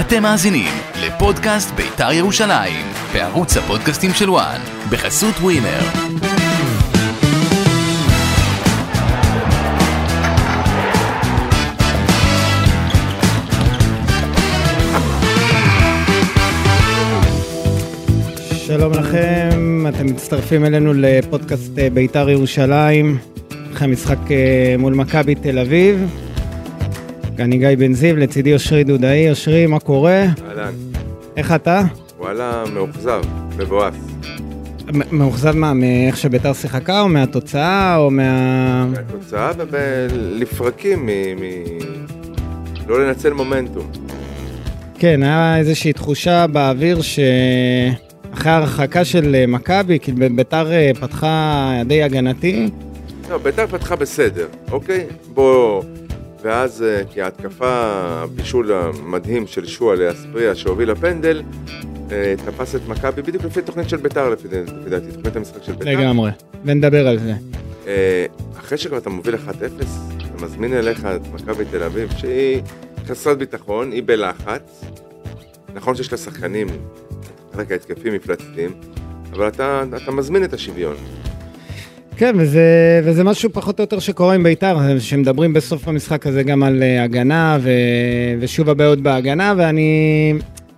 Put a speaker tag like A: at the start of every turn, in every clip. A: אתם מאזינים לפודקאסט בית"ר ירושלים, בערוץ הפודקאסטים של וואן, בחסות ווינר.
B: שלום לכם, אתם מצטרפים אלינו לפודקאסט אה, בית"ר ירושלים, אחרי המשחק אה, מול מכבי תל אביב. אני גיא בן זיו, לצידי אושרי דודאי. אושרי, מה קורה?
C: אהלן,
B: איך אתה?
C: וואלה, מאוכזב, מבואס.
B: מ- מאוכזב מה, מאיך שבית"ר שיחקה, או מהתוצאה, או מה...
C: התוצאה ולפרקים מ... מ... לא לנצל מומנטום.
B: כן, היה איזושהי תחושה באוויר שאחרי ההרחקה של אה, מכבי, כי ב- בית"ר אה, פתחה די הגנתי,
C: לא, בית"ר פתחה בסדר, אוקיי? בוא... ואז אה, כי ההתקפה, הבישול המדהים של שועה לאספריה שהוביל לפנדל, אה, תפס את מכבי בדיוק לפי תוכנית של בית"ר, לפי לפי דעתי, תוכנית המשחק של בית"ר.
B: לגמרי, ונדבר על זה.
C: אה, אחרי שכבר אתה מוביל 1-0, אתה מזמין אליך את מכבי תל אביב, שהיא חסרת ביטחון, היא בלחץ. נכון שיש לה שחקנים, חלק ההתקפים מפלצתיים, אבל אתה, אתה מזמין את השוויון.
B: כן, וזה, וזה משהו פחות או יותר שקורה עם בית"ר, שמדברים בסוף המשחק הזה גם על אה, הגנה, ו, ושוב הבעיות בהגנה, ואני...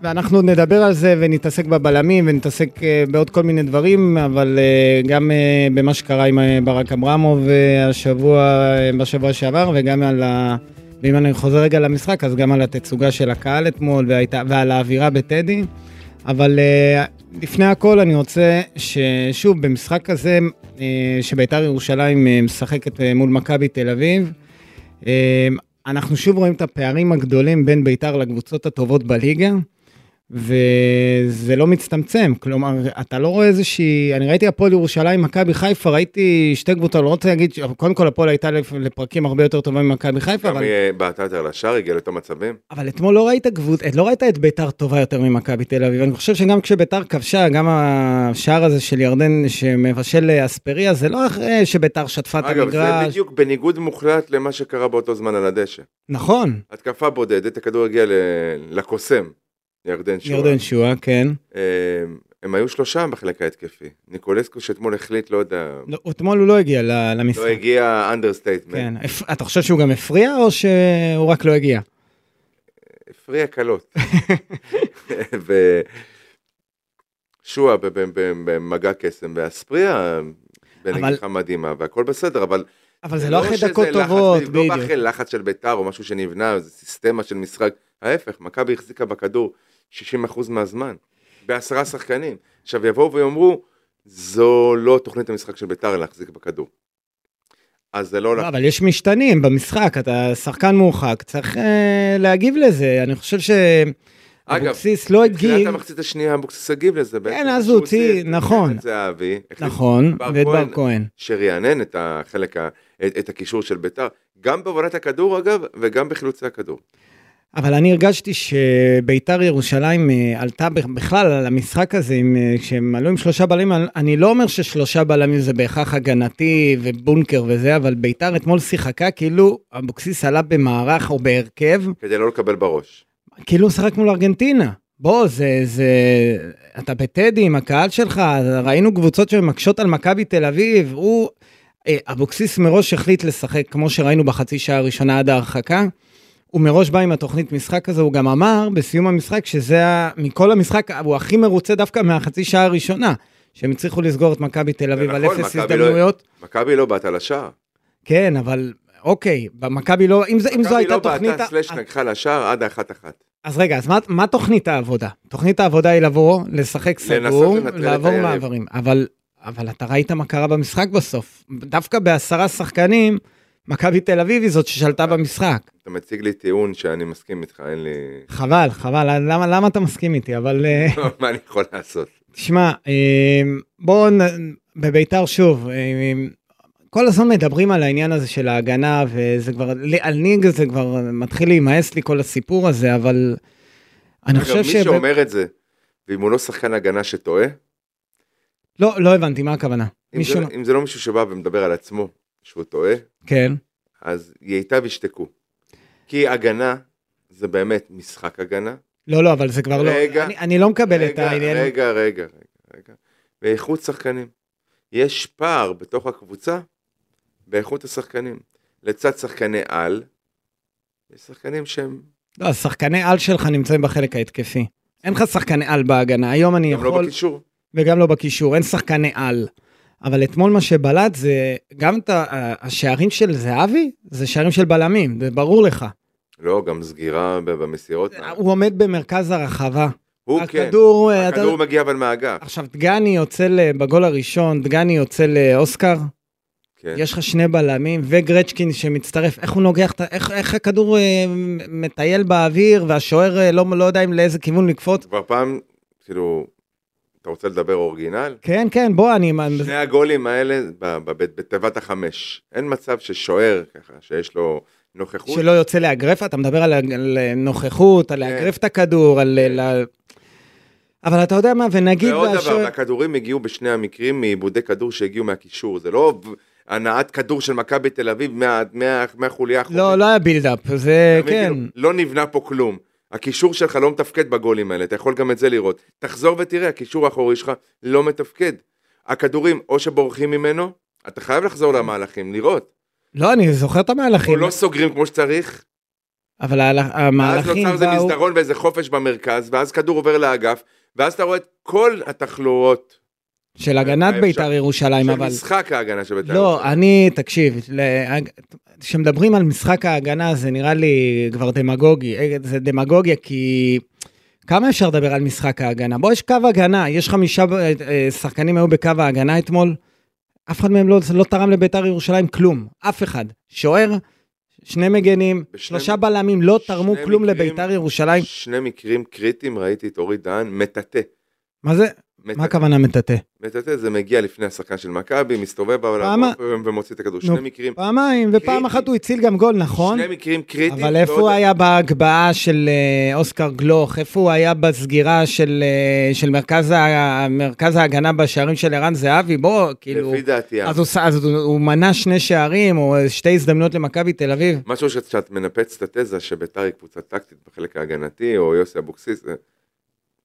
B: ואנחנו עוד נדבר על זה ונתעסק בבלמים ונתעסק אה, בעוד כל מיני דברים, אבל אה, גם אה, במה שקרה עם אה, ברק אברמוב אה, השבוע, אה, בשבוע שעבר, וגם על ה... ואם אני חוזר רגע למשחק, אז גם על התצוגה של הקהל אתמול והייתה, ועל האווירה בטדי. אבל אה, לפני הכל אני רוצה ששוב, במשחק כזה, אה, שביתר ירושלים אה, משחקת אה, מול מכבי תל אביב, אה, אנחנו שוב רואים את הפערים הגדולים בין ביתר לקבוצות הטובות בליגה, וזה לא מצטמצם. כלומר, אתה לא רואה איזושהי... אני ראיתי הפועל ירושלים, מכבי חיפה, ראיתי שתי קבוצות, לא רוצה להגיד, ש- קודם כל הפועל הייתה לפ- לפרקים הרבה יותר טובה ממכבי חיפה,
C: גם
B: אבל...
C: היא בעטה יותר לשער, הגיע לאותם מצבים.
B: אבל אתמול לא ראית קבוצ... לא ראית את ביתר טובה יותר ממכבי תל אביב. אני חושב שגם כשביתר כבשה, גם השער הזה של ירדן שמבשל אספריה, זה לא אחרי שביתר שטפה את
C: אגב, זה
B: המגרש.
C: בדיוק בניגוד מוחלט למה שקרה באותו זמן על הדשא.
B: נכון,
C: התקפה בודדת, הכדור הגיע ל- לקוסם, ירדן שואה.
B: ירדן שואה, כן.
C: הם, הם היו שלושה בחלק ההתקפי. ניקולסקו שאתמול החליט, לא יודע,
B: לא, אתמול הוא לא הגיע ל- למשחק.
C: לא הגיע אנדרסטייטמנט.
B: כן. הפ- אתה חושב שהוא גם הפריע, או שהוא רק לא הגיע?
C: הפריע קלות. ושועה ב- ב- ב- במגע קסם, והספריה בנגיחה מדהימה, והכל בסדר, אבל...
B: אבל זה לא אחרי
C: שזה
B: דקות
C: לחץ,
B: טובות,
C: בדיוק. לא בא
B: בדיוק.
C: אחרי לחץ של ביתר או משהו שנבנה, זה סיסטמה של משחק. ההפך, מכבי החזיקה בכדור 60% מהזמן, בעשרה שחקנים. עכשיו יבואו ויאמרו, זו לא תוכנית המשחק של ביתר להחזיק בכדור. אז זה לא...
B: לא, אבל יש משתנים במשחק, אתה שחקן מורחק, צריך אה, להגיב לזה. אני חושב שאבוקסיס לא
C: בתחילת
B: הגיב,
C: המחצית השנייה אבוקסיס הגיב לזה. בעצם,
B: אז
C: שהוא
B: הוא הוציא,
C: הוציא את-
B: נכון.
C: את זהבי. החליט
B: נכון,
C: בר
B: ואת
C: כהן.
B: בר כהן.
C: שרענן את החלק, ה- את, את הקישור של ביתר, גם בעבודת הכדור אגב, וגם בחילוצי הכדור.
B: אבל אני הרגשתי שביתר ירושלים אה, עלתה בכ- בכלל על המשחק הזה, עם, אה, כשהם עלו עם שלושה בלמים, אני- אני לא אומר ששלושה בלמים זה בהכרח הגנתי ובונקר וזה, אבל ביתר אתמול שיחקה כאילו אבוקסיס עלה במערך או בהרכב,
C: כדי לא לקבל בראש.
B: כאילו הוא שחק מול ארגנטינה. בוא, זה, זה, אתה בטדי עם הקהל שלך, ראינו קבוצות שמקשות על מכבי תל אביב, הוא, אה, אבוקסיס מראש החליט לשחק, כמו שראינו בחצי שעה הראשונה עד ההרחקה. הוא מראש בא עם התוכנית משחק הזו, הוא גם אמר בסיום המשחק שזה, ה- מכל המשחק, הוא הכי מרוצה דווקא מהחצי שעה הראשונה, שהם הצליחו לסגור את מכבי תל אביב על
C: נכון,
B: אפס
C: מכבי לא-
B: הזדמנויות.
C: מכבי לא בעטה לשער.
B: כן, אבל אוקיי, במכבי לא, אם, זה, אם זו
C: מכבי
B: הייתה
C: לא
B: תוכנית...
C: בעטה סלאש נגחה לשער עד האחת אחת.
B: אז רגע, אז מה, מה תוכנית העבודה? תוכנית העבודה היא לבוא, לשחק סגור,
C: לנטרל את
B: לעבור
C: היריב.
B: מעברים. אבל, אבל אתה ראית מה קרה במשחק בסוף. דווקא בעשרה שחקנים, מכבי תל אביב היא זאת
C: אה.
B: ששלטה במשחק.
C: אתה מציג לי טיעון שאני מסכים איתך, אין לי... לא,
B: חבל, חבל, למה, למה אתה מסכים איתי? אבל אה,
C: מה אני יכול לעשות?
B: תשמע, אה, בואו, נ- בביתר שוב, אה, כל הזמן מדברים על העניין הזה של ההגנה, וזה כבר, לי- על ניג זה כבר מתחיל להימאס לי כל הסיפור הזה, אבל אני
C: אגב,
B: חושב ש...
C: מי שאומר את זה, ואם הוא לא שחקן הגנה שטועה,
B: לא, לא הבנתי, מה הכוונה?
C: אם
B: מישהו...
C: זה- אם זה לא מישהו שבא ומדבר על עצמו שהוא טועה,
B: כן.
C: אז ייטב ישתקו. כי הגנה זה באמת משחק הגנה,
B: לא, לא, אבל זה כבר לא...
C: רגע,
B: אני- אני לא מקבל את
C: רגע,
B: העניין.
C: רגע, רגע, רגע, רגע. באיכות שחקנים. יש פער בתוך הקבוצה באיכות השחקנים. לצד שחקני על, יש שחקנים שהם
B: לא, השחקני על שלך נמצאים בחלק ההתקפי. אין לך שחקני על בהגנה, היום אני
C: גם לא
B: יכול,
C: בקישור.
B: וגם לא בקישור, אין שחקני על. אבל אתמול מה שבלט זה, גם את ה- השערים של זהבי, זה שערים של בלמים, זה ברור לך.
C: לא, גם סגירה ב- במסירות.
B: הוא עומד במרכז הרחבה.
C: הוא כן.
B: הכדור, אה, אתה-
C: הכדור מגיע אבל מהאגף.
B: עכשיו, דגני יוצא ל- בגול הראשון, דגני יוצא לאוסקר,
C: כן.
B: יש לך שני בלמים וגרצ'קין שמצטרף, איך הוא נוגח, את ה- איך, איך הכדור אה, מטייל באוויר והשוער אה, לא, לא יודע אם לאיזה כיוון לקפוץ.
C: כבר פעם, כאילו, אתה רוצה לדבר אורגינל?
B: כן, כן, בוא, אני...
C: שני הגולים האלה ב- בבית- בתיבת החמש. אין מצב ששוער, ככה, שיש לו נוכחות.
B: שלא יוצא לאגרף, אתה מדבר על, על אה, נוכחות,
C: כן.
B: על לאגרף את הכדור, על... על... אבל אתה יודע מה, ונגיד
C: ועוד דבר,
B: והשוער...
C: הכדורים הגיעו בשני המקרים מעיבודי כדור שהגיעו מהקישור, זה לא הנעת כדור של מכבי תל אביב מה- מה- מהחוליה האחורית.
B: לא, לא היה בילדאפ, זה
C: אתה מבין?
B: כן.
C: כאילו, לא נבנה פה כלום. הקישור שלך לא מתפקד בגולים האלה, אתה יכול גם את זה לראות. תחזור ותראה, הקישור האחורי שלך לא מתפקד. הכדורים או שבורחים ממנו, אתה חייב לחזור למהלכים, לראות.
B: לא, אני זוכר את
C: או
B: המהלכים,
C: לא סוגרים כמו שצריך,
B: אבל ה-
C: ואז
B: המהלכים
C: נוצר איזה
B: באו...
C: מסדרון ואיזה חופש במרכז, ואז כדור עובר לאגף, ואז אתה רואה את כל התחלואות
B: של הגנת
C: האפשר-
B: בית"ר ירושלים,
C: של
B: אבל...
C: משחק ההגנה של בית"ר.
B: לא, אני, תקשיב, להג- כשמדברים על משחק ההגנה זה נראה לי כבר דמגוגי, אה, זה דמגוגיה כי כמה אפשר לדבר על משחק ההגנה? בוא, יש קו הגנה, יש חמישה אה, אה, שחקנים היו בקו ההגנה אתמול, אף אחד מהם לא, לא תרם לביתר ירושלים כלום, אף אחד. שוער, שני מגנים,
C: בשני-
B: שלושה בלמים, לא תרמו
C: שני
B: כלום
C: מקרים-
B: לביתר ירושלים.
C: שני מקרים קריטיים ראיתי את אורי דהן מטאטא.
B: מה זה?
C: מטאטא.
B: מה הכוונה מטאטא?
C: מטאטא זה מגיע לפני השחקן של מכבי, מסתובב אבל
B: פעמה-
C: ומוציא את הכדור.
B: נו,
C: שני מקרים,
B: פעמיים,
C: קריטי.
B: ופעם אחת הוא הציל גם גול, נכון?
C: שני מקרים קריטיים. לא
B: אבל איפה הוא
C: ועוד-
B: היה בהגבהה של אה, אוסקר גלוך? איפה הוא היה בסגירה של, אה, של מרכז, ה- מרכז ההגנה בשערים של ערן זהבי? בוא, כאילו...
C: לפי דעתי, אה.
B: אז, הוא, ש- אז הוא, הוא מנע שני שערים או שתי הזדמנויות למכבי תל אביב.
C: משהו שאת שאת מנפץ את התזה שביתר היא קבוצה טקטית בחלק ההגנתי, או יוסי אבוקסיס, זה-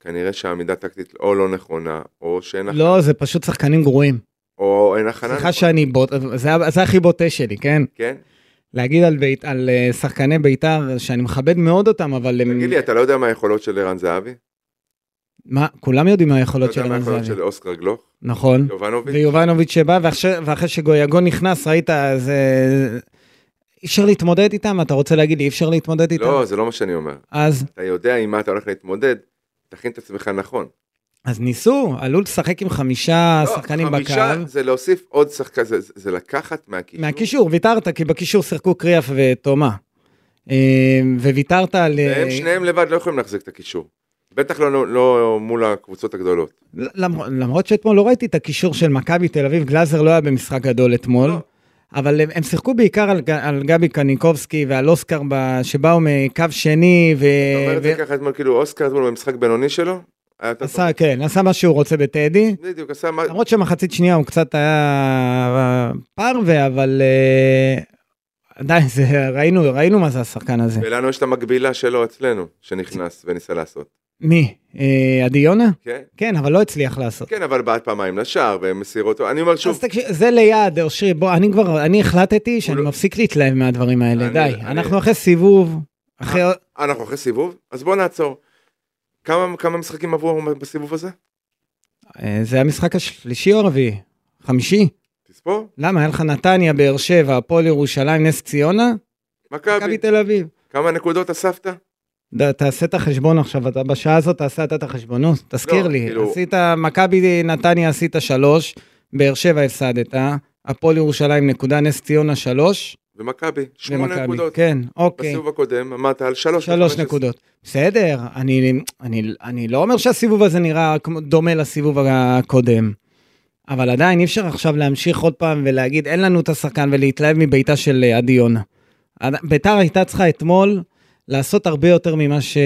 C: כנראה שהעמידה טקטית או לא נכונה, או שאין הכ-
B: לא, זה פשוט שחקנים גרועים.
C: או אין הכנה. נכונה.
B: סליחה שאני בוט... זה, ה- זה הכי בוטה שלי, כן?
C: כן?
B: להגיד על, בית, על אה, שחקני בית"ר, שאני מכבד מאוד אותם, אבל... הם-
C: תגיד לי, אתה לא יודע מה היכולות של ערן זהבי?
B: מה, כולם יודעים מה
C: לא
B: היכולות
C: יודע
B: של
C: מה
B: ערן
C: היכולות
B: זהבי.
C: של אוסקר גלוך?
B: נכון.
C: יובנוביץ'?
B: ויובנוביץ' שבא, ואחרי, ואחרי שגויגון נכנס, ראית, זה... אי אפשר להתמודד איתם? אתה רוצה להגיד לי, אי אפשר להתמודד איתם?
C: לא, זה לא מה שאני אומר.
B: אז,
C: אתה יודע עם מה אתה הולך להתמודד, תכין את עצמך נכון.
B: אה, אז ניסו, עלול לשחק עם חמישה
C: לא,
B: שחקנים בקו.
C: חמישה זה להוסיף עוד שחקן, זה- זה זה לקחת מהקישור.
B: מהקישור, ויתרת, כי בקישור שיחקו קריאף ותומה. אה, וויתרת על...
C: והם
B: אה,
C: שניהם לבד לא יכולים להחזיק את הקישור. בטח לא- לא מול הקבוצות הגדולות.
B: למרות, למרות שאתמול לא ראיתי את הקישור של מכבי תל אביב, גלאזר לא היה במשחק גדול אתמול,
C: לא.
B: אבל הם, הם שיחקו בעיקר על, ג- על גבי קניקובסקי ועל אוסקר ב- שבאו מקו שני, ו...
C: אתה אומר את
B: אה, ו-
C: זה ככה אתמול, כאילו אוסקר אתמול במשחק בינוני שלו, היה יותר טוב.
B: עשה, כן, עשה מה שהוא רוצה בטדי.
C: בדיוק, עשה מה...
B: למרות שמחצית שנייה הוא קצת היה פרווה, אבל אה, עדיין, זה, ראינו, ראינו מה זה השחקן הזה.
C: ולנו יש את המקבילה שלו אצלנו, שנכנס וניסה לעשות.
B: מי? אה, עדי יונה?
C: כן?
B: כן, אבל לא הצליח לעשות.
C: כן, אבל בעט פעמיים לשער, ומסירות... אני אומר שוב,
B: אז תקשיב, זה ליד, אושרי, בוא, אני כבר, אני החלטתי שאני
C: לא-
B: מפסיק להתלהב מהדברים האלה,
C: אני-
B: די.
C: אני- אה.
B: אנחנו אחרי סיבוב, אחרי...
C: אנחנו אחרי סיבוב, אז בוא נעצור. כמה כמה משחקים עברו בסיבוב הזה?
B: אה, זה היה המשחק השלישי או הרביעי? חמישי?
C: תספור.
B: למה? היה לך נתניה, באר שבע, הפועל ירושלים, נס ציונה, מכבי
C: מכבי,
B: תל אביב.
C: כמה נקודות אספת?
B: ד- תעשה את החשבון עכשיו, אתה בשעה הזאת תעשה אתה את החשבון, נו, תזכיר
C: לא,
B: לי,
C: כאילו-
B: עשית, מכבי נתניה עשית שלוש, באר שבע הפסדת, אה? הפועל ירושלים נקודה, נס ציונה שלוש,
C: ומכבי, שמונה
B: ומכבי.
C: נקודות.
B: כן, אוקיי,
C: בסיבוב הקודם עמדת על שלוש.
B: שלוש
C: וחמש עשרה.
B: נקודות. בסדר, אני, אני, אני לא אומר שהסיבוב הזה נראה כמו- דומה לסיבוב הקודם, אבל עדיין אי אפשר עכשיו להמשיך עוד פעם ולהגיד, אין לנו את השחקן ולהתלהב מביתה של אה, עדי יונה. עד- ביתר הייתה צריכה אתמול לעשות הרבה יותר ממה, ש...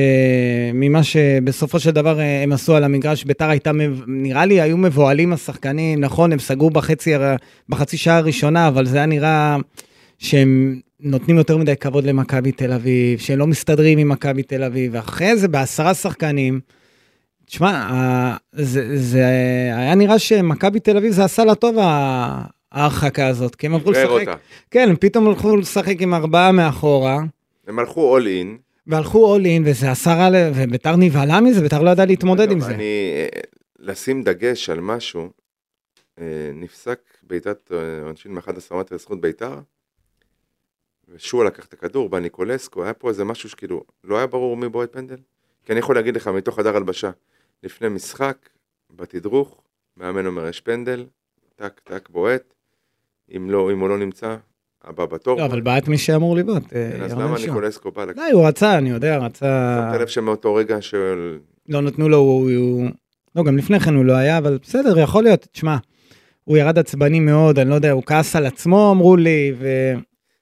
B: ממה שבסופו של דבר אה, הם עשו על המגרש. ביתר הייתה, מב- נראה לי, היו מבוהלים השחקנים, נכון, הם סגרו בחצי, הר- בחצי שעה הראשונה, אבל זה היה נראה שהם נותנים יותר מדי כבוד למכבי תל אביב, שהם לא מסתדרים עם מכבי תל אביב, ואחרי זה בעשרה שחקנים, תשמע, ה- זה, זה היה נראה שמכבי תל אביב זה עשה לה טוב ה- ההרחקה הזאת, כי הם עברו
C: שחרר
B: לשחק,
C: אותה.
B: כן, הם פתאום הלכו לשחק עם ארבעה מאחורה,
C: הם הלכו all in.
B: והלכו אול אין, וזה עשה רע, ל- וביתר נבהלה מזה, ביתר לא ידעה להתמודד עם
C: אגב,
B: זה.
C: אני, אה, לשים דגש על משהו, אה, נפסק בעיטת אה, עונשין מ-11 מטר לזכות בית"ר, ושועה לקח את הכדור, בא ניקולסקו, היה פה איזה משהו שכאילו, לא היה ברור מי בועט פנדל. כי אני יכול להגיד לך, מתוך חדר הלבשה, לפני משחק, בתדרוך, מאמן אומר, יש פנדל, טק, טק, בועט, אם לא, אם הוא לא נמצא, הבא בתור.
B: לא, אבל בעט מי שאמור לבעוט, אה,
C: כן, אז
B: ירדן
C: למה
B: שועה.
C: ניקולסקו בא לקחת?
B: די, הוא רצה, אני יודע, רצה...
C: שמת לב שמאותו רגע של...
B: לא נתנו לו, הוא, הוא... לא, גם לפני כן הוא לא היה, אבל בסדר, יכול להיות, תשמע, הוא ירד עצבני מאוד, אני לא יודע, הוא כעס על עצמו, אמרו לי,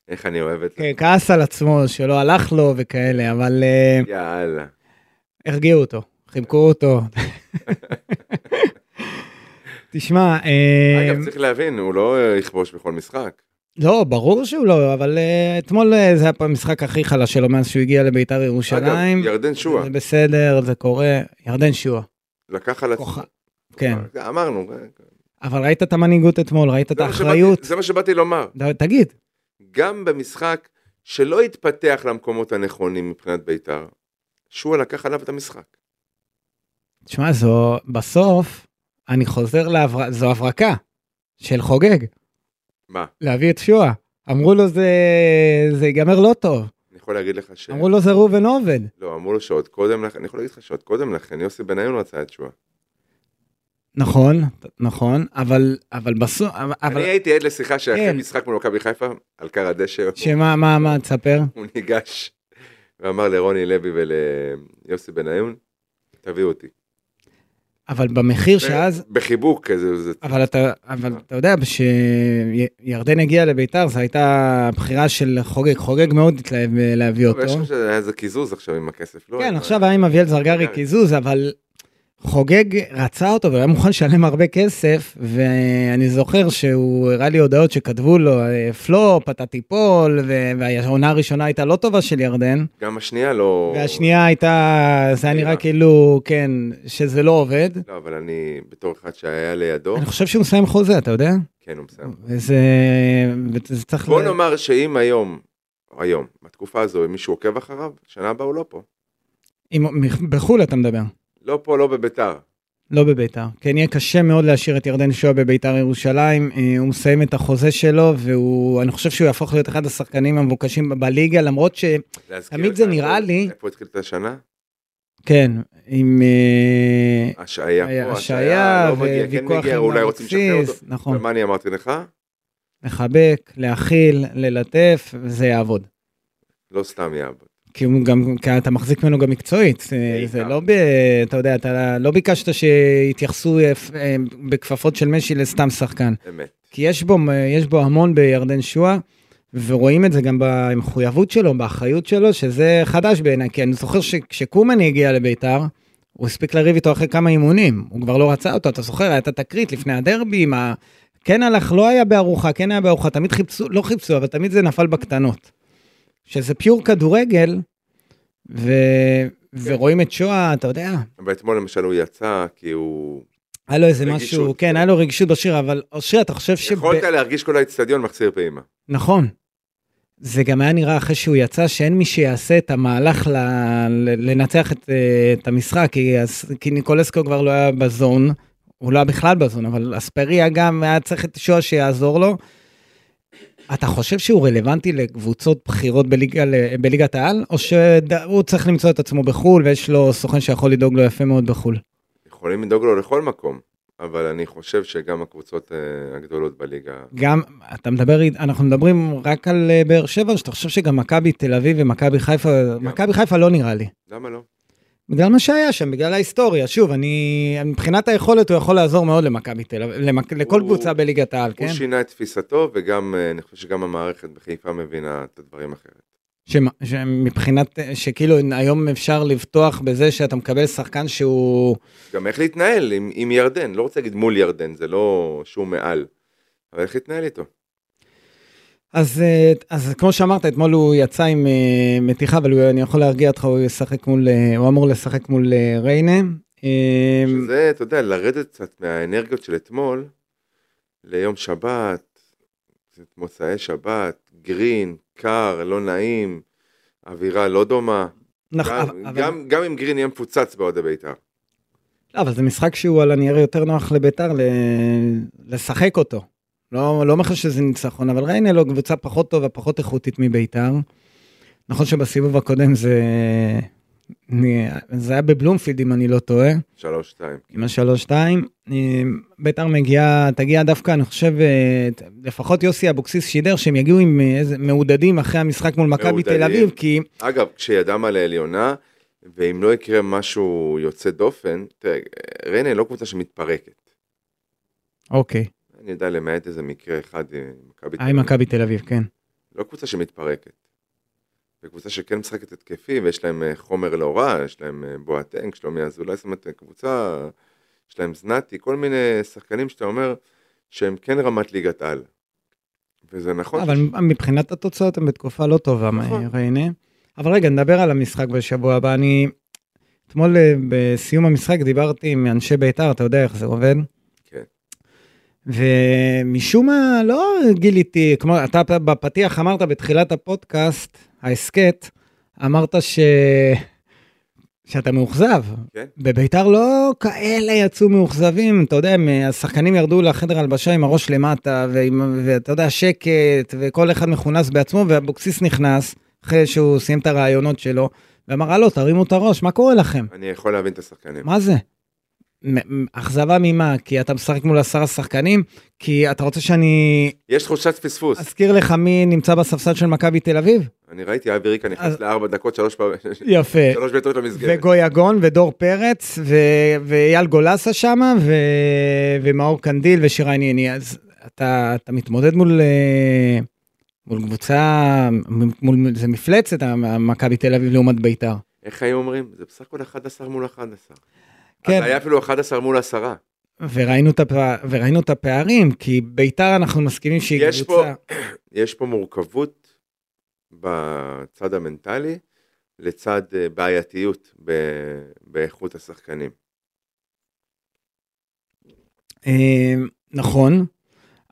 C: איך אני אוהב את זה.
B: וכעס על עצמו שלא הלך לו וכאלה, אבל אה,
C: יאללה.
B: הרגיעו אותו, חיבקו אותו. תשמע, אה,
C: אגב, צריך להבין, הוא לא אה, יכבוש בכל משחק.
B: לא, ברור שהוא לא, אבל אה, אתמול אה, זה היה פה המשחק הכי חלש שלו מאז שהוא הגיע לביתר
C: אגב,
B: ירושלים.
C: ירדן שועה
B: זה בסדר, זה קורה. ירדן שועה,
C: לקח על עצמו.
B: כוחה. כן.
C: אמרנו. אה,
B: אבל ראית את המנהיגות אתמול, ראית את
C: לא, זה מה שבאתי-
B: האחריות.
C: זה מה שבאתי לומר.
B: ד- תגיד,
C: גם במשחק שלא התפתח למקומות הנכונים מבחינת בית"ר, שועה לקח עליו את המשחק.
B: תשמע, זו, בסוף, אני חוזר להבר... זו הברקה של חוגג,
C: מה?
B: להביא את שועה. אמרו לו זה, זה ייגמר לא טוב,
C: אני יכול להגיד לך ש...
B: אמרו לו זה ראובן עובד.
C: לא, אמרו לו שעוד קודם לכן, אני יכול להגיד לך שעוד קודם לכן, יוסי בניון רצה את שועה.
B: נכון, נכון, אבל, אבל בסוף, אבל,
C: אני
B: אבל-
C: הייתי עד לשיחה שאחרי
B: כן.
C: משחק מול מכבי חיפה, על קר הדשא,
B: שמה, מה, מה, תספר?
C: הוא ניגש ואמר לרוני לוי וליוסי בניון, תביאו אותי.
B: אבל במחיר שאז,
C: בחיבוק כזה, זה
B: אבל אתה, אבל אתה יודע, כשירדן הגיע לביתר, זו הייתה הבחירה של חוגג, חוגג מאוד התלהב אה, להביא
C: אבל
B: אותו.
C: לא, יש לך שזה- איזה קיזוז עכשיו עם הכסף, לא?
B: כן,
C: עם ה-
B: עכשיו היה עם אביאל זרגרי
C: זרגרי.
B: קיזוז, אבל חוגג רצה אותו והיה מוכן לשלם הרבה כסף, ואני זוכר שהוא הראה לי הודעות שכתבו לו, אה, פלופ, אתה תיפול, ו- והעונה הראשונה הייתה לא טובה של ירדן,
C: גם השנייה לא...
B: והשנייה הייתה, זה היה נראה
C: נראה.
B: כאילו, כן, שזה לא עובד.
C: לא, אבל אני, בתור אחד שהיה לידו,
B: אני חושב שהוא מסיים חוזה, אתה יודע?
C: לא. כן, הוא מסיים.
B: וזה וזה צריך...
C: בוא
B: ל-
C: נאמר שאם היום, היום, בתקופה הזו, אם מישהו עוקב אחריו, שנה הבאה הוא לא פה.
B: אם- מח- בחו"ל אתה מדבר,
C: לא פה, לא בביתר.
B: לא בביתר. כן, יהיה קשה מאוד להשאיר את ירדן שואה בביתר ירושלים. אה, הוא מסיים את החוזה שלו, ואני חושב שהוא יהפוך להיות אחד השחקנים המבוקשים ב- בליגה, למרות ש...
C: להזכיר
B: תמיד
C: לך
B: זה
C: איפה-
B: נראה לי-
C: איפה התחיל את השנה?
B: כן, עם... אה,
C: השעיה
B: היה
C: פה,
B: השעיה,
C: השעיה, לא מגיע, כן
B: וויכוח
C: מגיע,
B: עם
C: אולי רוצים לשחרר אותו.
B: אבוקסיס, נכון.
C: ומה אני אמרתי לך?
B: לחבק, להכיל, ללטף, וזה יעבוד.
C: לא סתם יעבוד.
B: כי הוא גם, כי אתה מחזיק ממנו גם מקצועית, אה, זה
C: בעיקר.
B: לא ב... אתה יודע, אתה לא ביקשת שיתייחסו אה, פ- אה, בכפפות של משי לסתם שחקן.
C: אמת.
B: כי יש בו, יש בו המון בירדן שואה, ורואים את זה גם במחויבות שלו, באחריות שלו, שזה חדש בעיניי, כי אני זוכר שכשקומני הגיע לביתר, הוא הספיק לריב איתו אחרי כמה אימונים, הוא כבר לא רצה אותו, אתה זוכר, הייתה תקרית לפני הדרבי, מה... כן הלך, לא היה בארוחה, כן היה בארוחה, תמיד חיפשו, לא חיפשו, אבל תמיד זה נפל בקטנות. שזה פיור כדורגל, ו... ורואים את שואה, אתה יודע,
C: ואתמול למשל הוא יצא, כי הוא...
B: היה לו איזה
C: רגישות.
B: משהו, כן, היה לו רגישות בשיר, אבל אושרי, אתה חושב שב...
C: יכולת להרגיש כל האצטדיון מחסיר פעימה.
B: נכון. זה גם היה נראה אחרי שהוא יצא שאין מי שיעשה את המהלך ל... ל- לנצח את, אה, את המשחק, כי, הס- כי ניקולסקו כבר לא היה בזון, הוא לא היה בכלל בזון, אבל אספריה גם היה צריך את שואה שיעזור לו. אתה חושב שהוא רלוונטי לקבוצות בכירות בליגה, ל- בליגת העל, או שהוא צריך למצוא את עצמו בחו"ל ויש לו סוכן שיכול לדאוג לו יפה מאוד בחו"ל?
C: יכולים לדאוג לו לכל מקום, אבל אני חושב שגם הקבוצות אה, הגדולות בליגה,
B: גם, אתה מדבר, אנחנו מדברים רק על אה, באר שבע, שאתה חושב שגם מכבי תל אביב ומכבי חיפה, מכבי חיפה לא נראה לי.
C: למה לא?
B: בגלל מה שהיה שם, בגלל ההיסטוריה. שוב, אני, מבחינת היכולת הוא יכול לעזור מאוד למכבי תל אביב, למק- לכל
C: הוא-
B: קבוצה בליגת העל,
C: כן.
B: כן?
C: הוא שינה את תפיסתו, וגם, אה, אני חושב שגם המערכת בחיפה מבינה את הדברים אחרת.
B: שמה- שמבחינת, שכאילו היום אפשר לבטוח בזה שאתה מקבל שחקן שהוא...
C: גם איך להתנהל עם, עם ירדן, לא רוצה להגיד מול ירדן, זה לא שהוא מעל, אבל איך להתנהל איתו.
B: אז, אה, אז כמו שאמרת, אתמול הוא יצא עם אה, מתיחה, אבל הוא- אני יכול להרגיע אותך, הוא ישחק מול, אה, הוא אמור לשחק מול אה, ריינה. אה,
C: שזה, אתה יודע, לרדת קצת מהאנרגיות של אתמול ליום שבת, קצת מוצאי שבת, גרין, קר, לא נעים, אווירה לא דומה.
B: נכ-
C: גם-
B: נכון, אבל-
C: גם- גם אם גרין יהיה מפוצץ באוהדי בית"ר.
B: לא, אבל זה משחק שהוא על הנייר יותר נוח לביתר ל- לשחק אותו. לא, לא מחושב שזה ניצחון, אבל ריינה לא קבוצה פחות טובה, פחות איכותית מביתר. נכון שבסיבוב הקודם זה... זה היה בבלומפילד אם אני לא טועה,
C: שלוש, שתיים.
B: עם השלוש-שתיים. אה, ביתר מגיעה, תגיע דווקא, אני חושב, אה, ת- לפחות יוסי אבוקסיס שידר שהם יגיעו עם אה, איזה מעודדים אחרי המשחק מול מכבי
C: מעודדים.
B: תל אביב, כי
C: אגב, כשידם על העליונה, ואם לא יקרה משהו יוצא דופן, תראה, ריינה היא לא קבוצה שמתפרקת.
B: אוקיי,
C: אני יודע למעט איזה מקרה אחד עם מכבי תל
B: היה אה, עם
C: אביב.
B: מכבי תל אביב, כן.
C: לא קבוצה שמתפרקת. זו קבוצה שכן משחקת התקפי, ויש להם אה, חומר לא רע, יש להם אה, בואטנק, שלומי אזולאי, זאת אומרת, קבוצה, יש להם זנתי, כל מיני שחקנים שאתה אומר שהם כן רמת ליגת על. וזה נכון.
B: אבל מבחינת התוצאות הם בתקופה לא טובה,
C: נכון.
B: ריינה. אבל רגע, נדבר על המשחק בשבוע הבא. אני אתמול אה, בסיום המשחק דיברתי עם אנשי בית"ר, אתה יודע איך זה עובד.
C: כן.
B: ומשום מה לא גיליתי, כמו אתה בפתיח אמרת בתחילת הפודקאסט, ההסכת, אמרת ש... שאתה מאוכזב.
C: כן.
B: בביתר לא כאלה יצאו מאוכזבים, אתה יודע, הם, השחקנים ירדו לחדר הלבשה עם הראש למטה, ועם- ואתה יודע, שקט, וכל אחד מכונס בעצמו, ואבוקסיס נכנס, אחרי שהוא סיים את הרעיונות שלו, ואמר, הלו, תרימו את הראש, מה קורה לכם?
C: אני יכול להבין את השחקנים.
B: מה זה? מ- מ- אכזבה ממה? כי אתה משחק מול עשרה שחקנים? כי אתה רוצה שאני
C: יש תחושת פספוס.
B: אזכיר לך מי נמצא בספסל של מכבי תל אביב?
C: אני ראיתי אבי ריקה נכנס
B: אז-
C: לארבע דקות, שלוש פעמים,
B: יפה.
C: שלוש בעיטות למסגרת.
B: וגויגון ודור פרץ ו- ואייל גולסה שם ו- ומאור קנדיל ושירה ענייני אז אתה, אתה מתמודד מול אה, מול קבוצה מ- מול זה מפלצת מכבי תל אביב לעומת בית"ר.
C: איך היו אומרים? זה בסך הכל 11 מול 11.
B: כן.
C: כן. אז היה אפילו 11 מול 10.
B: וראינו את, הפ... וראינו את הפערים כי בית"ר אנחנו מסכימים שהיא
C: יש
B: קבוצה.
C: פה- יש פה מורכבות בצד המנטלי לצד אה, בעייתיות ב- באיכות השחקנים.
B: כן. אה, נכון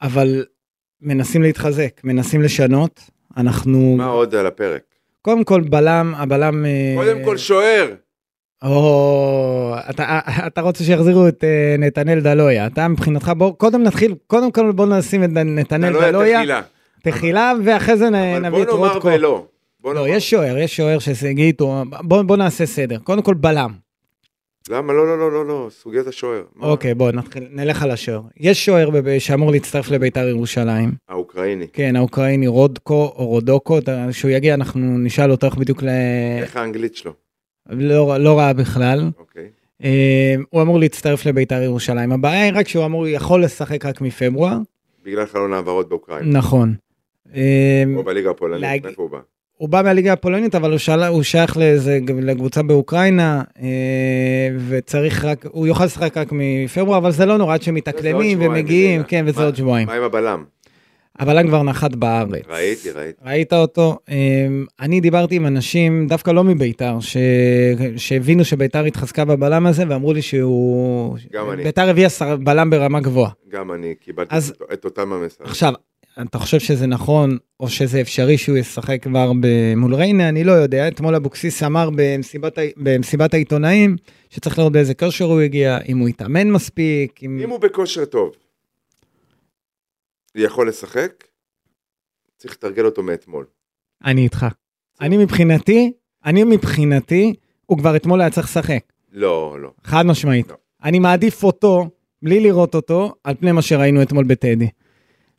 B: אבל מנסים להתחזק מנסים לשנות אנחנו
C: מה עוד על הפרק?
B: קודם כל בלם הבלם אה,
C: קודם כל שוער!
B: או, אתה, אתה רוצה שיחזירו את אה, נתנאל דלויה, אתה מבחינתך בוא, קודם נתחיל, קודם כל בוא נשים את נתנאל
C: דלויה
B: דלויה,
C: תחילה.
B: תחילה, ואחרי זה נ-
C: אבל
B: לא אה, נביא
C: בוא
B: את
C: נאמר
B: רודקו.
C: ולא. בוא
B: לא,
C: נאמר.
B: יש שוער, יש שוער ששגיא איתו, בוא, בוא נעשה סדר, קודם כל בלם,
C: למה? לא, לא, לא, לא, לא, סוגיית השוער. מה?
B: אוקיי בוא נתחיל, נלך על השוער, יש שוער בב- שאמור להצטרף לביתר ירושלים,
C: האוקראיני.
B: כן האוקראיני רודקו או רודוקו, אתה- כשהוא יגיע אנחנו נשאל אותו איך בדיוק, ל... אה.
C: איך האנגלית שלו?
B: לא, לא רע בכלל.
C: אוקיי.
B: אה, הוא אמור להצטרף לבית"ר ירושלים. הבעיה היא רק שהוא אמור, יכול לשחק רק מפברואר.
C: בגלל חלון העברות באוקראינה.
B: נכון. אה,
C: או בליגה הפולנית,
B: להג-
C: מאיפה הוא בא?
B: הוא בא מהליגה הפולנית, אבל הוא, שאל, הוא שייך לאיזה, לקבוצה באוקראינה, אה, וצריך רק, הוא יוכל לשחק רק מפברואר, אבל זה לא נורא עד שמתאקלמים
C: שבועיים,
B: ומגיעים,
C: בדיוק.
B: כן, וזה
C: מה-
B: עוד שבועיים.
C: מה עם הבלם?
B: הבלם כבר נחת בארץ.
C: ראיתי, ראיתי.
B: ראית אותו? אמ, אני דיברתי עם אנשים, דווקא לא מביתר, ש... שהבינו שביתר התחזקה בבלם הזה, ואמרו לי שהוא...
C: גם אני.
B: ביתר הביאה שר- בלם ברמה גבוהה.
C: גם אני קיבלתי
B: אז-
C: את- את אותם המסרים.
B: עכשיו, אתה חושב שזה נכון, או שזה אפשרי שהוא ישחק כבר ב- מול ריינה? אני לא יודע. אתמול אבוקסיס אמר במסיבת, ה- במסיבת העיתונאים, שצריך לראות באיזה כושר הוא הגיע, אם הוא התאמן מספיק, אם...
C: אם הוא בכושר טוב, יכול לשחק, צריך לתרגל אותו מאתמול.
B: אני איתך. אני מבחינתי, אני מבחינתי, הוא כבר אתמול היה צריך לשחק.
C: לא, לא.
B: חד משמעית.
C: לא.
B: אני מעדיף אותו, בלי לראות אותו, על פני מה שראינו אתמול בטדי.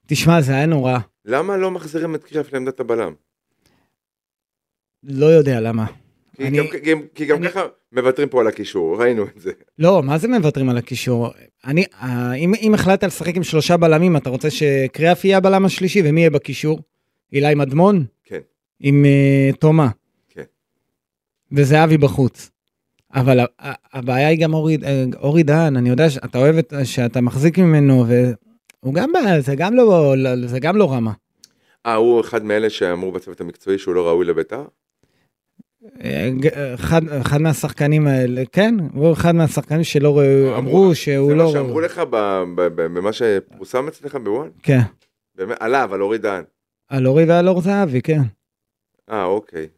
B: תשמע, זה היה נורא.
C: למה לא מחזירים את קריאף לעמדת הבלם? לא.
B: לא יודע למה.
C: כי,
B: אני-
C: גם, גם, כי גם
B: אני-
C: ככה מוותרים פה על הקישור, ראינו את זה.
B: לא, מה זה מוותרים על הקישור? אני, אה, אם, אם החלטת לשחק עם שלושה בלמים, אתה רוצה שקריאף יהיה הבלם השלישי, ומי יהיה בקישור? אילי מדמון?
C: כן.
B: עם uh, תומה.
C: כן.
B: וזהבי בחוץ. אבל ה- ה- הבעיה היא גם אורי, אה, אורי דהן, אני יודע שאתה אוהב את, שאתה מחזיק ממנו, והוא גם, ב- זה גם לא, זה גם לא רמה.
C: אה, הוא אחד מאלה שאמרו בצוות המקצועי שהוא לא ראוי לביתר?
B: אה, ג- אחד, אחד מהשחקנים האלה, כן, הוא אחד מהשחקנים שלא ראו, אמרו שהוא
C: זה
B: לא...
C: מה שאמרו לך ב- ב- ב- במה שפורסם אצלך בוואן?
B: כן,
C: באמת, עליו, על אורי דן.
B: על אורי ועל אור זהבי, כן.
C: אה, אוקיי.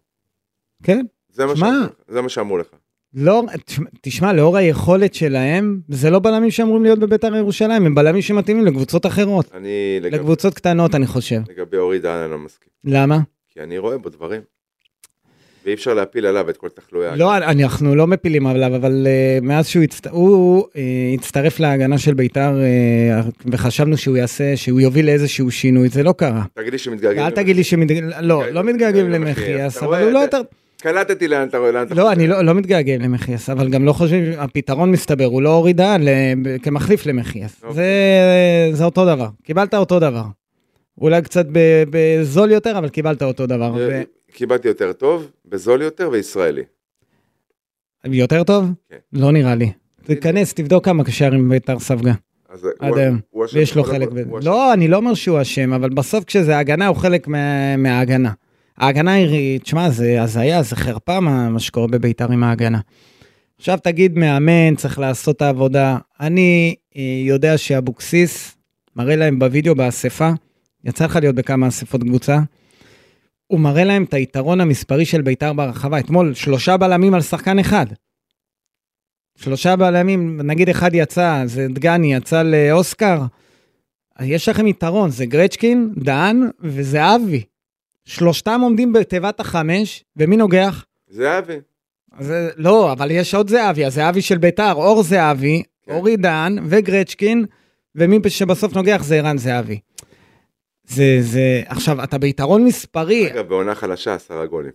B: כן,
C: זה מה
B: שמע.
C: שאמרו לך, זה מה שאמרו לך.
B: לא, תשמע- תשמע, לאור היכולת שלהם, זה לא בלמים שאמורים להיות בביתר ירושלים, הם בלמים שמתאימים לקבוצות אחרות,
C: אני לגב-
B: לקבוצות קטנות, אני חושב.
C: לגבי אורי דן אני לא מסכים.
B: למה?
C: כי אני רואה בו דברים. ואי אפשר להפיל עליו את כל תחלואי ההגנה.
B: לא, אנחנו לא מפילים עליו, אבל אה, מאז שהוא הצט... הוא, אה, הצטרף להגנה של ביתר, אה, וחשבנו שהוא יעשה, שהוא יוביל לאיזשהו שינוי, זה לא קרה.
C: תגיד לי שמתגעגעים.
B: אל תגיד לי שמתגעגעים, לא,
C: מתגעגעים
B: לא מתגעגעים
C: למחיאס,
B: למחיאס,
C: אתה
B: אבל
C: רואה,
B: הוא לא
C: אתה-
B: יותר...
C: קלטתי לאן אתה רואה, לאן אתה
B: לא,
C: חוזר.
B: אני לא לא מתגעגע למחיאס, אבל גם לא חושב, הפתרון מסתבר, הוא לא הוריד דהן ל- כמחליף למחיאס.
C: אוקיי.
B: זה- זה אותו דבר, קיבלת אותו דבר. אולי קצת ב- בזול יותר, אבל קיבלת אותו דבר.
C: אה, קיבלתי יותר טוב, בזול יותר וישראלי.
B: ו- יותר טוב?
C: כן.
B: לא נראה לי. תיכנס, תבדוק כמה שערים בית"ר ספגה,
C: אז אה, הוא-
B: עד היום.
C: הוא אשם
B: ויש לו
C: בכל
B: חלק
C: הכל,
B: בזה.
C: הוא אשם.
B: לא, אני לא אומר שהוא אשם, אבל בסוף כשזה הגנה, הוא חלק מה- מההגנה. ההגנה היא, תשמע, זה הזיה, זה חרפה מה, מה שקורה בביתר עם ההגנה. עכשיו תגיד, מאמן, צריך לעשות את העבודה. אני אה, יודע שאבוקסיס מראה להם בווידאו באספה, יצא לך להיות בכמה אספות קבוצה, הוא מראה להם את היתרון המספרי של ביתר ברחבה. אתמול, שלושה בלמים על שחקן אחד. שלושה בלמים, נגיד אחד יצא, זה דגני, יצא לאוסקר. יש לכם יתרון, זה גרצ'קין, דהן וזהבי. שלושתם עומדים בתיבת החמש, ומי נוגח?
C: זהבי.
B: זה, לא, אבל יש עוד זהבי, הזהבי של ביתר, אור זהבי,
C: כן.
B: אורי דהן וגרצ'קין, ומי שבסוף נוגח זה ערן זהבי. זה, זה, עכשיו, אתה ביתרון מספרי.
C: אגב, בעונה חלשה, עשרה גולים.